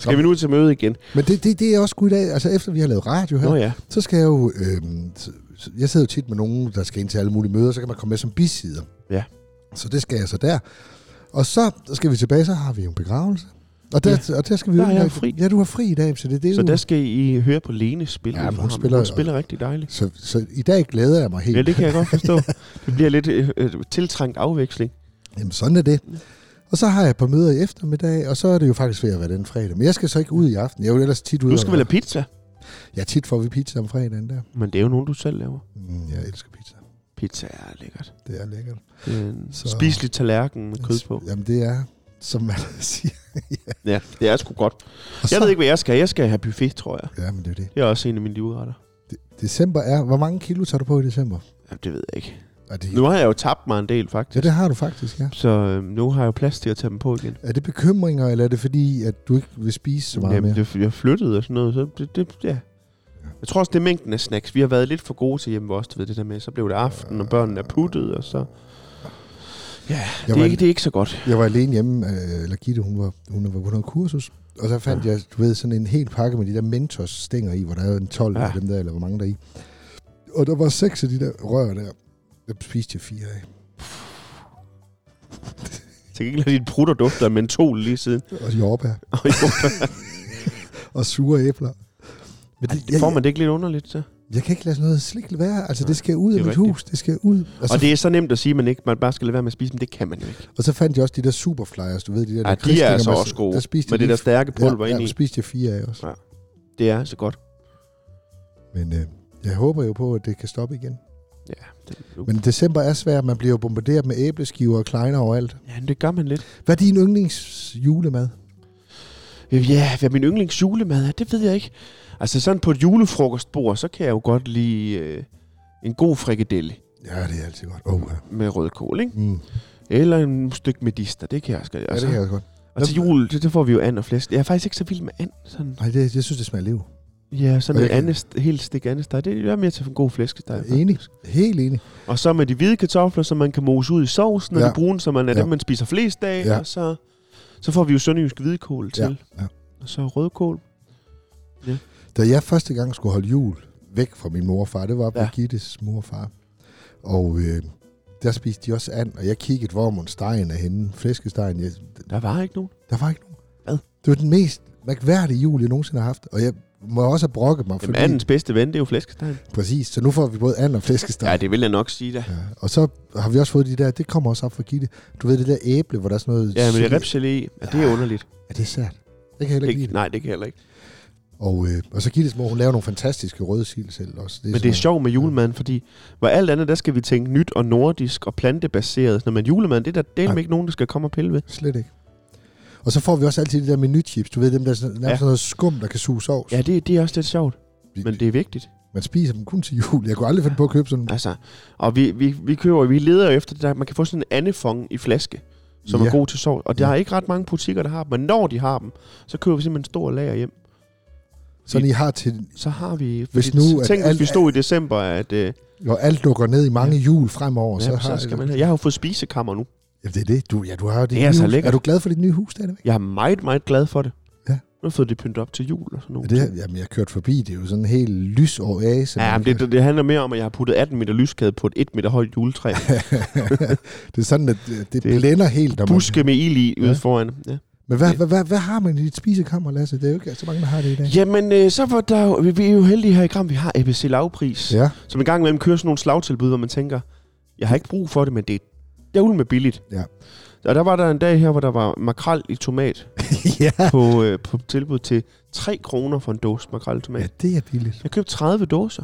Skal
Nå.
vi nu til møde igen?
Men det, det, det er også god i dag. Altså, efter vi har lavet radio her,
Nå ja.
så skal jeg jo... øhm, så- så- jeg sidder jo tit med nogen, der skal ind til alle mulige møder, så kan man komme med som bisider.
Ja.
Så det skal jeg så der. Og så skal vi tilbage, så har vi jo en begravelse. Og der, ja. og der skal vi
Der
jo...
har jeg
ind-
fri.
Ja, du har fri i dag, så det er det,
Så
du...
der skal I høre på Lene spille.
Ja,
Ja,
men
hun,
hun
spiller,
spiller-
hun spiller rigtig dejligt.
så, så i dag glæder jeg mig helt.
Ja, det kan jeg godt forstå. Det bliver lidt øh, øh, tiltrængt afveksling.
Jamen, sådan er det. Og så har jeg et par møder i eftermiddag, og så er det jo faktisk ved at være den fredag. Men jeg skal så ikke ud i aften. Jeg er jo ellers tit ude.
Du skal
og-
vel have pizza?
Ja, tit får vi pizza om fredagen der.
Men det er jo nogen, du selv laver.
Mm, jeg elsker pizza.
Pizza er lækkert.
Det er lækkert.
Det er en
Så-
spiselig tallerken med kød på.
Jamen, det er, som man siger.
Ja, det er sgu godt.
Og
Jeg
så-
ved ikke, hvad jeg skal. Jeg skal have buffet, tror jeg.
Ja, men det er det.
Det er også en af mine livretter.
December er... Hvor mange kilo tager du på i december?
Ja, det ved jeg ikke.
Er det,
Nu har jeg jo tabt mig en del,
ja,
faktisk.
det har du faktisk, ja.
Så øh, nu har jeg jo plads til at tage dem på igen.
Er det bekymringer, eller er det fordi, at du ikke vil spise så meget
Jamen,
mere?
det, jeg flyttede og sådan noget, så det, det, ja. Jeg tror også, det er mængden af snacks. Vi har været lidt for gode til hjemme ved os, du ved det der med. Så blev det aften, og børnene er puttet, og så... Ja,
Jeg
det er,
var-
ikke, det er ikke så godt.
Jeg var alene hjemme, øh, eller Gitte, hun var, hun var på noget kursus, og så fandt jeg, du ved, sådan en hel pakke med de der Mentos-stænger i, hvor der er en 12
Ja.
ja. af dem der, eller hvor mange der er i. Og der var seks af de der rør der. Dem spiste jeg fire af.
Til gengæld har dit prutter dufter af mentol lige siden.
Og jordbær.
Og jo,
Og sure æbler. Men det,
får
jeg,
man det ikke lidt underligt så?
jeg kan ikke lade sådan noget slik være. Altså,
Nej,
det skal ud
det
af
er
mit
rigtigt.
hus. Det skal ud. Altså, Og så,
Og det er så nemt at sige, at man, ikke, man bare skal lade være med at spise, men det kan man jo ikke.
og så fandt jeg også de der superflyers, du ved, de
Ej, de
der...
er
lakridsstænger
altså
med-
også gode.
Der spiste
Med
jeg
det der
lige-
stærke pulver
ja,
ind
ja,
i.
der spiste jeg fire af også.
Det er altså godt.
Men øh, jeg håber jo på, at det kan stoppe igen.
Ja, det,
Men december er svært. Man bliver jo bombarderet med æbleskiver og kleiner overalt.
ja, det gør man lidt.
Hvad er din yndlings julemad?
Øh, Ja, hvad min yndlings julemad er, det ved jeg ikke. Altså sådan på et julefrokostbord, så kan jeg jo godt lide øh, en god frikadelle
Ja, det er altid godt. Oh, ja.
med rødkål, ikke?
Mm.
Eller en stykke medister, det kan jeg også godt.
ja,
Og,
det
så,
kan jeg også godt.
og til jul, det, det, får vi jo and og flæsk. Jeg er faktisk ikke så vild med and. Sådan,
Nej, det, jeg synes, det smager liv.
ja, sådan
Okay.
okay. en andet, helt stik andesteg. Det er mere til en god flæskesteg.
Ja, enig. Helt enig.
Og så med de hvide kartofler, som man kan mose ud i sovsen, og
Ja.
ja. de brune, som man er
Ja.
ja. dem, man spiser flest af.
Ja.
Ja. Og så, så får vi jo sønderjysk hvidkål til.
Ja, ja.
Og så rødkål.
Da jeg første gang skulle holde jul væk fra min mor og far, det var ja.
Ja.
Birgittes mor og far. Og øh, der spiste de også and, og jeg kiggede, hvor mon stegen er henne. Flæskestegen, jeg,
Der var ikke nogen.
der var ikke nogen.
Hvad?
Det var den mest mærkværdige jul, jeg nogensinde har haft. Og jeg må også have brokket mig.
Jamen, andens bedste ven, det er jo flæskesteg.
Præcis, så nu får vi både and og flæskesteg.
Ja, det vil jeg nok sige da.
Ja, og så har vi også fået de der, det kommer også op fra Gitte. Du ved det der æble, hvor der er sådan noget...
Ja, men det
sylt-
er repgelé, ja, det er underligt.
Ja, det er sært. Det kan jeg heller ikke
Ikke,
lide.
nej, det kan jeg heller ikke.
Og, øh, og så Gittes mor, hun laver nogle fantastiske røde sild selv også.
Men det er sjovt med julemanden, fordi hvor alt andet, der skal vi tænke nyt og nordisk og plantebaseret. Når man julemanden, det er der
Nej.
delt ikke nogen, der skal komme og pille ved.
Slet ikke. Og så får vi også altid de der menuchips. Du ved dem, der er sådan, nærmest
Ja.
sådan noget skum, der kan suge sovs.
Ja, det, det er også lidt sjovt,
Vi-
men det er vigtigt.
Man spiser dem kun til jul. Jeg kunne aldrig finde på at købe sådan en.
Altså, og vi, vi, vi køber, vi leder efter det der, man kan få sådan en andefong i flaske, som ja.
Ja.
er god til sovs. Og der
Ja.
er ikke ret mange butikker, der har dem, men når de har dem, så køber vi simpelthen en stor lager hjem.
Sådan I har til...
Så har vi...
Hvis
fordi
nu, at
tænk,
alt-
hvis vi stod i december, at... Øh,
Når alt lukker ned i mange jul fremover,
ja,
så
så,
har...
skal man have. Jeg har jo fået spisekammer nu.
Ja, det er det. Du, ja, du har jo dit
Det er
nye
så
hus.
lækkert.
Er du glad for dit nye hus stadigvæk?
Jeg er meget, meget glad for det.
Ja.
Nu har jeg fået det pyntet op til jul og sådan
Ja,
noget.
det, er- jamen, jeg har kørt forbi. Det er jo sådan en helt lys oase.
Ja, men det, det, det handler mere om, at jeg har puttet 18 meter lyskæde på et 1 meter højt juletræ.
det er sådan, at øh, det, det
Det er
blænder helt. Når man,
Buske med ild i ude
Ja.
foran. Ja.
men hvad, hvad, hvad, hvad har man i dit spisekammer, Lasse? Det er jo ikke så mange, der har det i dag.
Jamen, øh, så var der jo, vi, vi er jo heldige her i Gram, vi har ABC lavpris. Ja.
Ja,
Som en gang imellem kører sådan nogle slagtilbud, hvor man tænker, jeg har ikke brug for det, men det er dævlen med billigt.
Ja.
Og der var der en dag her, hvor der var makrel i tomat
ja.
på, øh, på tilbud til 3 kroner for en dåse makrel i tomat.
ja
Ja.
det er billigt.
Jeg købte 30 dåser.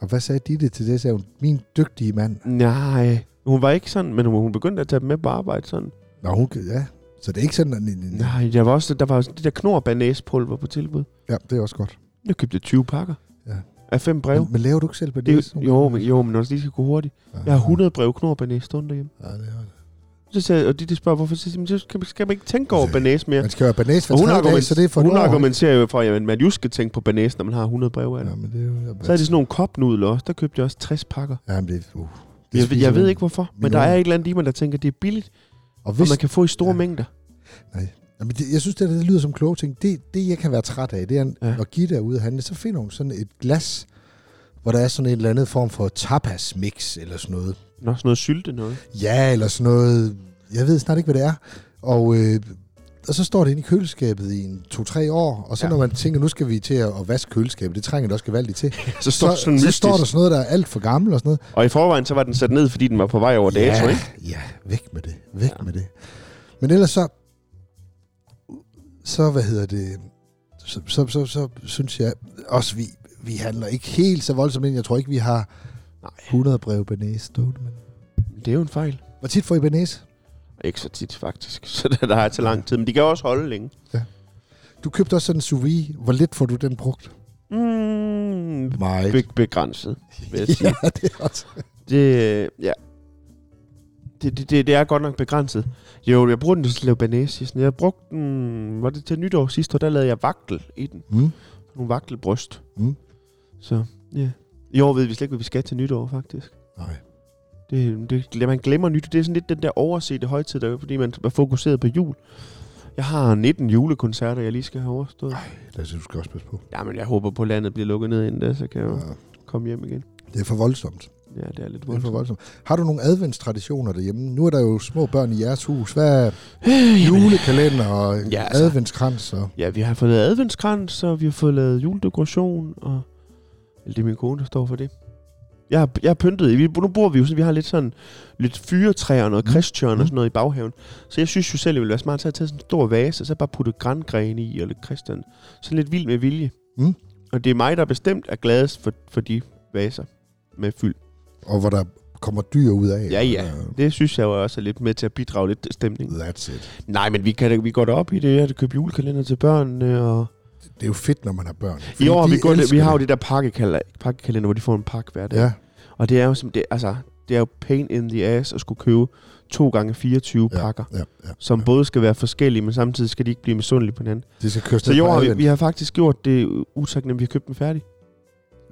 Og hvad sagde Ditte til det? Sagde hun, min dygtige mand.
Nej, hun var ikke sådan, men hun, hun begyndte at tage dem med på arbejde sådan.
Nå, hun, kan- ja. Så det er ikke sådan, at...
Nej, der var også, der var også det der knorbanæspulver på tilbud.
Ja, det er også godt.
Jeg købte 20 pakker.
Ja.
Af fem breve.
Men, men laver du ikke selv
Det,
banæs? Ah,
er jo- jo, men, jo, men når det lige skal gå hurtigt. Jeg har 100 brev knor banæs stående derhjemme.
Ja, det er det.
Så sagde, og de, de spørger, hvorfor så siger, jeg, men så skal, man- skal man ikke tænke over
Ja.
banæs mere.
Man skal jo have banæs for
Og hun,
tre dage,
argument,
så det er for
hun
et år.
argumenterer jo for, at man just skal tænke på banæs, når man har 100 brev af det.
Ja, men det er jo...
Så er det sådan nogle kopnudler også. Der købte jeg også 60 pakker.
Ja, men altså. det, uh, det
Jeg, ved-
spiser
jeg ved
man.
ikke hvorfor,
Min
men der
unge.
er et eller andet i mig, der tænker, det er billigt,
Og
og
hvis,
man kan få i store
Ja.
mængder.
jamen det, jeg synes, det, det lyder som kloge ting. Det, det, jeg kan være træt af, det er,
Ja.
når Gitte er ude at handle, så finder hun sådan et glas, hvor der er sådan en eller anden form for tapas-mix eller sådan noget.
Nå, sådan noget sylte noget.
Ja, eller sådan noget. Jeg ved snart ikke, hvad det er. Og, øh, og så står det inde i køleskabet i en to-tre år, og så ja.
Ja.
når man tænker, nu skal vi til at, at vaske køleskabet, det trænger det også gevaldigt til,
Så står
så,
sådan
så
mystisk.
står der sådan noget, der er alt for gammelt og sådan noget.
Og i forvejen, så var den sat ned, fordi den var på vej over dato, ikke?
ja, væk med det, væk ja. med det. Men ellers så, så hvad hedder det, så, så, så, så synes jeg også, vi, vi handler ikke helt så voldsomt ind. Jeg tror ikke, vi har
Nej.
100 brev Bernays stående. men-
Det er jo en fejl.
Hvor tit får I Bernays?
Ikke så tit, faktisk. Så der, der er til lang tid. Men de kan også holde længe.
Du købte også sådan en sous vide. Hvor lidt får du den brugt?
Mm,
Meget.
be- begrænset, vil jeg sige.
ja, det er også.
Det, ja. Det, det, det, det er godt nok begrænset. Jo, jeg bruger den til at lave banæs i sådan. Jeg brugte den, var det til nytår sidste år, der lavede jeg vaktel i den.
Mm.
Nogle vaktelbryst.
Mm.
Så, ja. I år ved vi slet ikke, hvad vi skal til nytår, faktisk.
Nej.
Det, det, man glemmer nyt. Det er sådan lidt den der oversete højtid, der, fordi man er fokuseret på jul. Jeg har 19 julekoncerter, jeg lige skal have overstået.
Det synes du skal også passe på.
Jamen, jeg håber på, at landet bliver lukket ned inden da, så kan jeg jo
Ja.
komme hjem igen.
Det er for voldsomt.
Ja, det er lidt
Det er for
voldsomt.
voldsomt. Har du nogle adventstraditioner derhjemme? Nu er der jo små børn i jeres hus. Hvad er
Øh, Jule.
julekalender og ja,
Ja,
altså.
altså.
adventskrans? Og...
Ja, vi har fået lavet adventskrans, og vi har fået lavet juledekoration, og eller det er min kone, der står for det. Jeg har, jeg har pyntet, i- vi, nu bor vi jo sådan, vi har lidt sådan, lidt fyretræer og noget
Mm.
kristjørn
Mm.
og sådan noget i baghaven. Så jeg synes jo selv, det ville være smart til at tage sådan en stor vase, og så bare putte grangrene i, eller kristjørn. Sådan lidt vild med vilje.
Mm.
Og det er mig, der bestemt er gladest for, for de vaser med fyld.
Og hvor der kommer dyr ud af.
Ja, ja.
Og-
Det synes jeg jo også er lidt med til at bidrage lidt til stemningen.
That's it.
Nej, men vi, kan, da- vi går da op i det. Jeg har købt julekalender til børnene. Og...
Det er jo fedt, når man har børn.
I
fordi
år har
de
vi, gået,
elsker
vi har jo det
det.
der pakkekalender, pakkekalender, hvor de får en pakke hver dag.
Ja,
Og det er jo som det, altså, det er jo pain in the ass at skulle købe to gange 24
Ja.
ja. pakker,
ja, ja.
som ja. både skal være forskellige, men samtidig skal de ikke blive misundelige på hinanden.
Det skal køres
Så
ned
i
på
år har vi,
advent.
vi har faktisk gjort det utaknemmeligt, vi har købt dem færdig.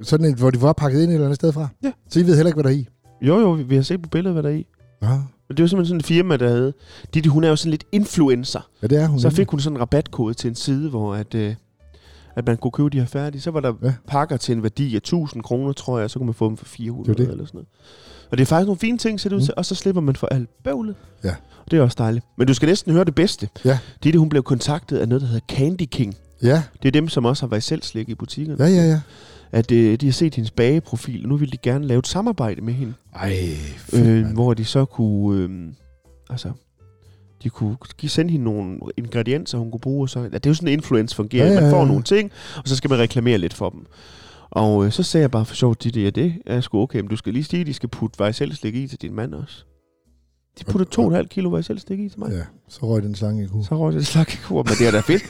Sådan et, hvor de var pakket ind et eller andet sted fra.
Ja.
Så I ved heller ikke, hvad der er i.
Jo, jo, vi, vi har set på billedet, hvad der er i.
Ja,
Og det var simpelthen sådan et firma, der havde... Ditte, hun er jo sådan lidt influencer.
ja det er hun.
Så
nemlig.
fik hun sådan en rabatkode til en side, hvor at, øh, at man kunne købe de her færdige. Så var der
Ja.
ja. pakker til en værdi af 1000 kroner, tror jeg, og så kunne man få dem for 400
Det er
det
jo
det.
det.
eller sådan noget. Og det er faktisk nogle fine ting, ser det ud
Mm.
til, og så slipper man for alt bøvlet.
Ja.
Og det er også dejligt. Men du skal næsten høre det bedste.
Ja.
Ditte, hun blev kontaktet af noget, der hedder Candy King.
Ja,
Det er dem, som også har været selv slik i butikkerne.
ja, ja, ja.
At øh, de har set hendes bageprofil, og nu vil de gerne lave et samarbejde med hende.
Ej, fedt,
Øh,
mand.
hvor de så kunne... Øh, altså, de kunne give, sende hende nogle ingredienser, hun kunne bruge. Og så, ja, det er jo sådan, influence fungerer.
Ja,
Ja,
ja,
Man får
ja.
nogle ting, og så skal man reklamere lidt for dem. Og øh, så sagde jeg bare for sjovt, de der det er sgu okay, men du skal lige sige, at de skal putte vejselslik i til din mand også. De
Og-
putter 2,5 kilo vejselslik i til mig.
Ja, så røg den slange i hovedet.
Så røg det en slagkekur, men det er da fedt.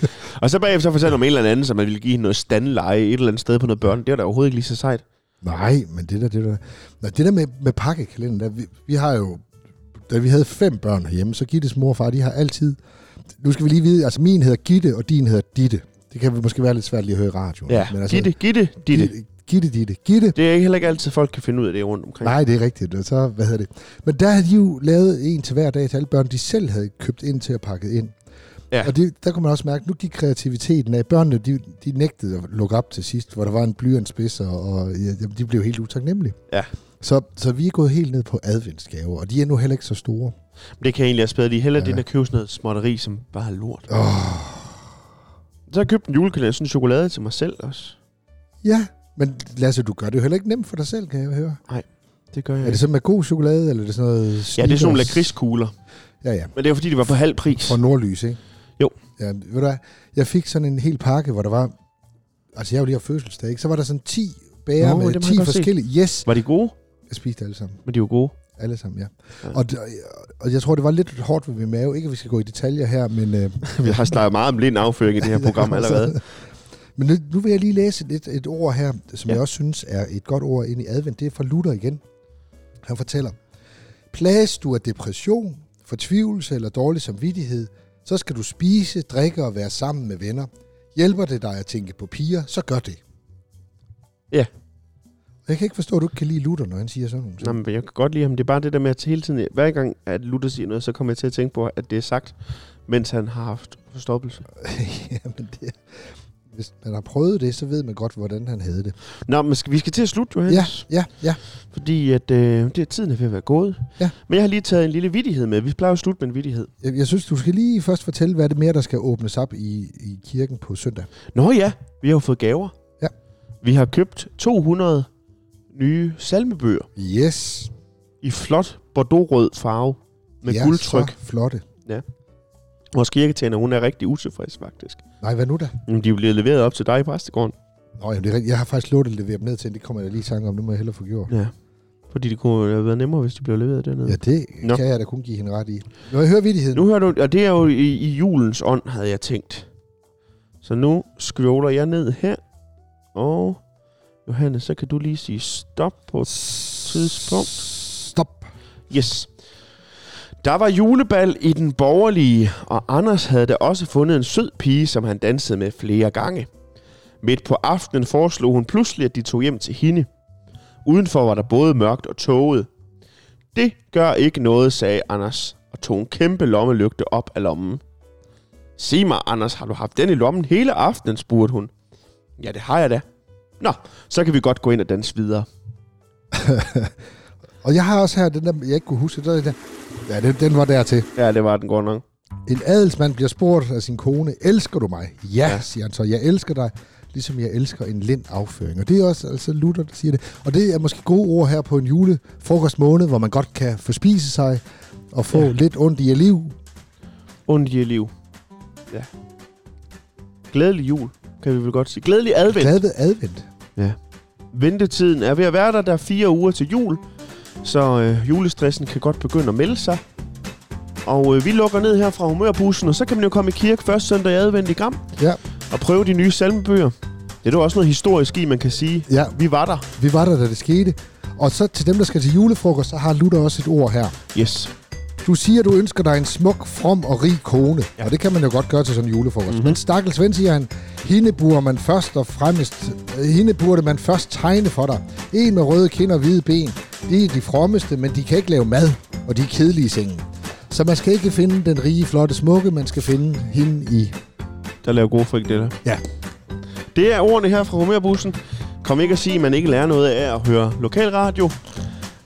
og så bagefter så fortalte hun om en eller anden, som man ville give hende noget standleje et eller andet sted på noget børn. Det var da overhovedet ikke lige så sejt.
Nej, men det der, det der. Nej, det der med, med pakkekalenderen, der, vi, vi har jo, da vi havde fem børn herhjemme, så Gittes mor og far, de har altid, nu skal vi lige vide, altså min hedder Gitte, og din hedder Ditte. Det kan måske være lidt svært lige at høre i radioen.
Ja, gitte, gitte, ditte.
altså- Gitte, Ditte, Gitte.
Det er ikke heller ikke altid, folk kan finde ud af det rundt omkring.
Nej, det er rigtigt. Og så, hvad hedder det? Men der havde de jo lavet en til hver dag til alle børn, de selv havde købt ind til at pakke ind.
Ja.
Og det, der kunne man også mærke, at nu gik kreativiteten af. Børnene, de, de nægtede at lukke op til sidst, hvor der var en blyantspids, og, og ja, jamen, de blev helt utaknemmelige.
Ja.
Så, så vi er gået helt ned på adventsgaver, og de er nu heller ikke så store.
Det kan jeg egentlig også bedre lide. Heller
Ja.
ja. det, end at købe sådan noget småtteri, som bare er lort.
Oh,
Så har jeg købt en julekalender, sådan en chokolade til mig selv også.
ja, men Lasse, du gør det jo heller ikke nemt for dig selv, kan jeg høre.
Det gør jeg.
Er det sådan med god chokolade, eller er det sådan noget...
ja, det er sådan nogle
Snickers?
lakridskugler.
Ja, ja.
Men det er fordi, det var på halv pris.
Fra Nordlys, ikke?
Jo.
Ja, ved du hvad, jeg fik sådan en hel pakke, hvor der var... Altså, jeg var lige af fødselsdag, ikke? Så var der sådan 10 bærer
Nå,
med
dem har
10
jeg godt set.
forskellige... Set. Yes,
Var de gode?
jeg spiste alle sammen.
Men de var gode.
Alle sammen, ja.
Ja.
Og, d- og jeg tror, det var lidt hårdt ved min mave. Ikke, at vi skal gå i detaljer her, men... Øh,
Vi har snakket meget om lind afføring i det her program allerede.
men nu, nu vil jeg lige læse et, et ord her, som
Ja.
ja. jeg også synes er et godt ord ind i advent. Det er fra Luther igen. Han fortæller, plages du af depression, fortvivlelse eller dårlig samvittighed, så skal du spise, drikke og være sammen med venner. Hjælper det dig at tænke på piger, så gør det.
Ja.
Og Jeg kan ikke forstå, at du ikke kan lide Luther, når han siger sådan nogle ting.
Nå, men jeg kan godt lide ham. Det er bare det der med, at hele tiden, hver gang at Luther siger noget, så kommer jeg til at tænke på, at det er sagt, mens han har haft forstoppelse.
Jamen, det, hvis man har prøvet det, så ved man godt, hvordan han havde det.
Nå, men skal, vi skal til at slutte, Johannes.
Ja, ja, ja.
Fordi at, øh, det er tiden er ved at være gået.
Ja.
Men jeg har lige taget en lille vittighed med. Vi plejer jo at slutte med en vittighed.
Jeg, jeg synes, du skal lige først fortælle, hvad er det mere, der skal åbnes op i, i kirken på søndag.
Nå ja, vi har jo fået gaver.
Ja.
Vi har købt 200 nye salmebøger
Yes.
i flot bordeaux-rød farve med
Ja,
ja, guldtryk.
Så flotte.
Vores kirketjener, hun er rigtig utilfreds faktisk.
Nej, hvad nu da?
Men de er blevet leveret op til dig i præstegården.
Nå, jamen, det er rigtigt. Jeg har faktisk lovet at levere dem ned til, det kommer jeg da lige i tanke om. Det må jeg hellere få gjort.
Ja. Fordi det kunne have været nemmere, hvis de blev leveret dernede.
Ja, det Nå.
Nå.
kan jeg da kun give hende ret i. Når jeg hører vidtigheden.
Nu hører du, og det er jo i, i julens ånd, havde jeg tænkt. Så nu scroller jeg ned her, og Johannes, så kan du lige sige stop på tidspunkt.
Stop.
Yes. Der var julebal i den borgerlige, og Anders havde da også fundet en sød pige, som han dansede med flere gange. Midt på aftenen foreslog hun pludselig, at de tog hjem til hende. Udenfor var der både mørkt og tåget. Det gør ikke noget, sagde Anders, og tog en kæmpe lommelygte op af lommen. Sig mig, Anders, har du haft den i lommen hele aftenen, spurgte hun. Ja, det har jeg da. Nå, så kan vi godt gå ind og danse videre.
Og jeg har også her den der, jeg ikke kunne huske. Der, er den der. Ja, den, den var dertil.
Ja, det var den godt nok.
En adelsmand bliver spurgt af sin kone, elsker du mig? Ja, ja,
Ja.
siger han så. Jeg elsker dig, ligesom jeg elsker en lind afføring. Og det er også altså Luther, der siger det. Og det er måske gode ord her på en julefrokostmåned, hvor man godt kan forspise sig og få ja.
Ja.
lidt ondt i liv.
ondt i liv. Ja. Glædelig jul, kan vi vel godt sige. Glædelig advent.
Glad ved advent.
Ventetiden er ved at være der. Der er fire uger til jul. Så øh, julestressen kan godt begynde at melde sig. Og øh, vi lukker ned her fra humørbussen, og så kan man jo komme i kirke første søndag i advent i Gram.
Ja.
Og prøve de nye salmebøger. Det er der også noget historisk i, man kan sige.
Ja,
Vi var der.
vi var der, da det skete. Og så til dem, der skal til julefrokost, så har Luther også et ord her.
Yes.
Du siger, du ønsker dig en smuk, from og rig kone.
Ja.
Ja. Og det kan man jo godt gøre til sådan en julefrokost.
Mhm.
Mm-hmm. Men stakkels ven, siger han, hende burde man først og fremmest, øh, hende burde man først tegne for dig. En med røde kinder og hvide ben. De er de frommeste, men de kan ikke lave mad, og de er kedelige i sengen. Så man skal ikke finde den rige, flotte, smukke, man skal finde hende i.
Der laver gode frikadeller.
Ja.
Det er ordene her fra humørbussen. Kom ikke at sige, at man ikke lærer noget af at høre lokalradio.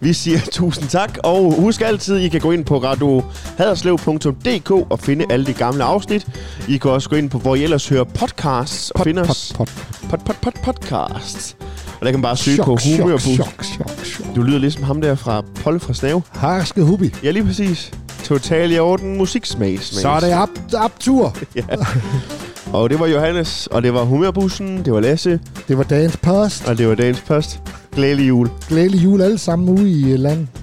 Vi siger tusind tak, og husk altid, I kan gå ind på radiohaderslev.dk og finde alle de gamle afsnit. I kan også gå ind på, hvor I ellers hører podcasts og pot, finde os
pot,
pod, pod, pod, podcasts. Og der kan man bare søge
chok,
på
chok,
humørbus.
chok, chok, chok.
Du lyder ligesom ham der fra Polle fra Snave.
Harske hubi.
Ja, lige præcis. Total i orden musiksmag.
Så er det op, optur.
Og det var Johannes, og det var humørbussen, det var Lasse,
Det var dagens post.
og det var dagens post. Glædelig jul.
Glædelig jul alle sammen ude i øh, landet.